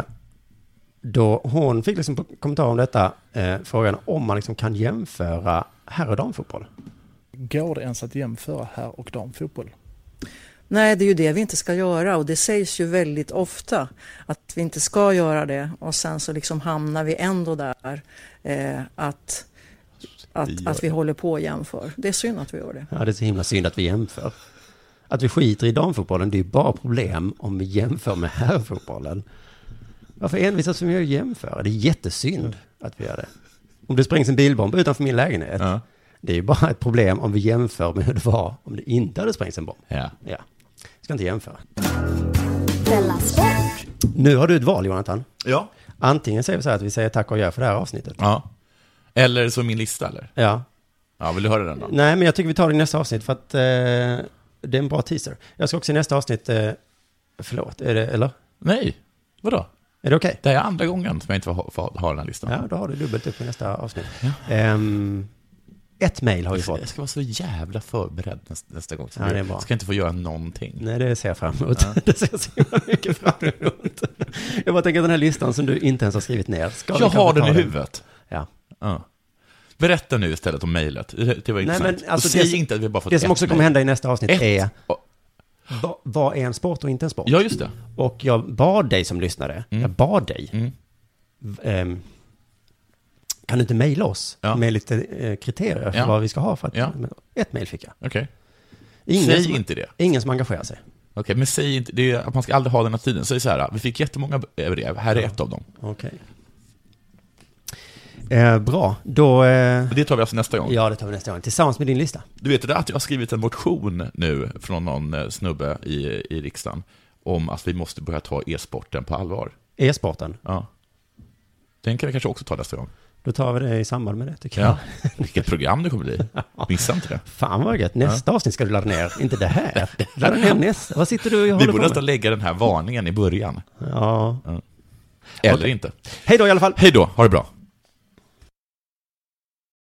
[SPEAKER 1] då hon fick liksom på kommentar om detta eh, frågan om man liksom kan jämföra herr och damfotboll.
[SPEAKER 6] Går det ens att jämföra herr och damfotboll?
[SPEAKER 5] Nej, det är ju det vi inte ska göra och det sägs ju väldigt ofta att vi inte ska göra det och sen så liksom hamnar vi ändå där eh, att, att, att vi håller på och jämför. Det är synd att vi gör det.
[SPEAKER 1] Ja, det är så himla synd att vi jämför. Att vi skiter i damfotbollen, det är ju bara problem om vi jämför med herrfotbollen. Varför envisas vi med att jämföra? Det är jättesynd att vi gör det. Om det sprängs en bilbomb utanför min lägenhet,
[SPEAKER 2] Ja.
[SPEAKER 1] det är ju bara ett problem om vi jämför med hur det var om det inte hade sprängts en bomb.
[SPEAKER 2] Ja.
[SPEAKER 1] Ja, vi ska inte jämföra.
[SPEAKER 4] Della Sport.
[SPEAKER 1] Nu har du ett val, Jonathan.
[SPEAKER 2] Ja.
[SPEAKER 1] Antingen säger vi så här att vi säger tack och gör för det här avsnittet.
[SPEAKER 2] ja. Eller så min lista, eller?
[SPEAKER 1] Ja.
[SPEAKER 2] Ja, vill du höra den då?
[SPEAKER 1] Nej, men jag tycker vi tar det i nästa avsnitt för att eh, det är en bra teaser. Jag ska också i nästa avsnitt, eh, förlåt, är det, eller?
[SPEAKER 2] Nej. Vadå?
[SPEAKER 1] Är det okej?
[SPEAKER 2] Det här är andra gången som jag inte får, får ha den här listan.
[SPEAKER 1] Ja, då har du dubbelt upp i nästa avsnitt. Ehm, ett mejl har vi
[SPEAKER 2] Jag
[SPEAKER 1] fått.
[SPEAKER 2] ska vara så jävla förberedd nästa, nästa gång.
[SPEAKER 1] Ja, det är bra.
[SPEAKER 2] Ska inte få göra någonting.
[SPEAKER 1] Nej, det ser jag fram emot. Det ser jag så himla mycket fram emot. Jag bara tänker att den här listan som du inte ens har skrivit ner. Ska vi
[SPEAKER 2] Jag
[SPEAKER 1] kanske
[SPEAKER 2] har den
[SPEAKER 1] ta
[SPEAKER 2] i huvudet.
[SPEAKER 1] Ja.
[SPEAKER 2] Ja. Berätta nu istället om mejlet. Det det var
[SPEAKER 1] Nej,
[SPEAKER 2] intressant.
[SPEAKER 1] men alltså
[SPEAKER 2] och säg
[SPEAKER 1] det,
[SPEAKER 2] inte att vi bara fått
[SPEAKER 1] det som
[SPEAKER 2] ett
[SPEAKER 1] också
[SPEAKER 2] mejl.
[SPEAKER 1] kommer hända i nästa avsnitt
[SPEAKER 2] Ett.
[SPEAKER 1] är
[SPEAKER 2] Ja.
[SPEAKER 1] va, vad är en sport och inte en sport?
[SPEAKER 2] Ja, just det.
[SPEAKER 1] Och jag bad dig som lyssnare, jag bad dig,
[SPEAKER 2] Mm.
[SPEAKER 1] v- ehm, kan du inte mejla oss
[SPEAKER 2] Ja.
[SPEAKER 1] med lite eh, kriterier för
[SPEAKER 2] Ja.
[SPEAKER 1] vad vi ska ha? För att,
[SPEAKER 2] Ja.
[SPEAKER 1] Ett mejl fick jag.
[SPEAKER 2] Okej.
[SPEAKER 1] Ingen
[SPEAKER 2] Säg
[SPEAKER 1] som,
[SPEAKER 2] inte det.
[SPEAKER 1] ingen som engagerar sig.
[SPEAKER 2] Okej, men säg inte, det är, att man ska aldrig ha den här tiden. Säg så här, vi fick jättemånga brev, här är ett av dem.
[SPEAKER 1] Okej. Eh, bra, då... Eh,
[SPEAKER 2] Och det tar vi alltså nästa gång.
[SPEAKER 1] ja, det tar vi nästa gång. Tillsammans med din lista.
[SPEAKER 2] Du vet det där att jag har skrivit en motion nu från någon eh, snubbe i, i riksdagen om att vi måste börja ta e-sporten på allvar.
[SPEAKER 1] E-sporten.
[SPEAKER 2] Ja. Den kan vi kanske också ta nästa gång.
[SPEAKER 1] Då tar vi det i samband med det, tycker
[SPEAKER 2] Ja.
[SPEAKER 1] jag.
[SPEAKER 2] Vilket program det kommer bli. Missa inte det.
[SPEAKER 1] Fan vad gött. Nästa avsnitt ska du ladda ner. Inte det här. Ladda ner nästa. Vad sitter du och
[SPEAKER 2] Vi
[SPEAKER 1] håller på
[SPEAKER 2] borde
[SPEAKER 1] med?
[SPEAKER 2] nästan lägga den här varningen i början.
[SPEAKER 1] Ja.
[SPEAKER 2] Eller inte.
[SPEAKER 1] Hej då i alla fall.
[SPEAKER 2] Hej då, ha det bra.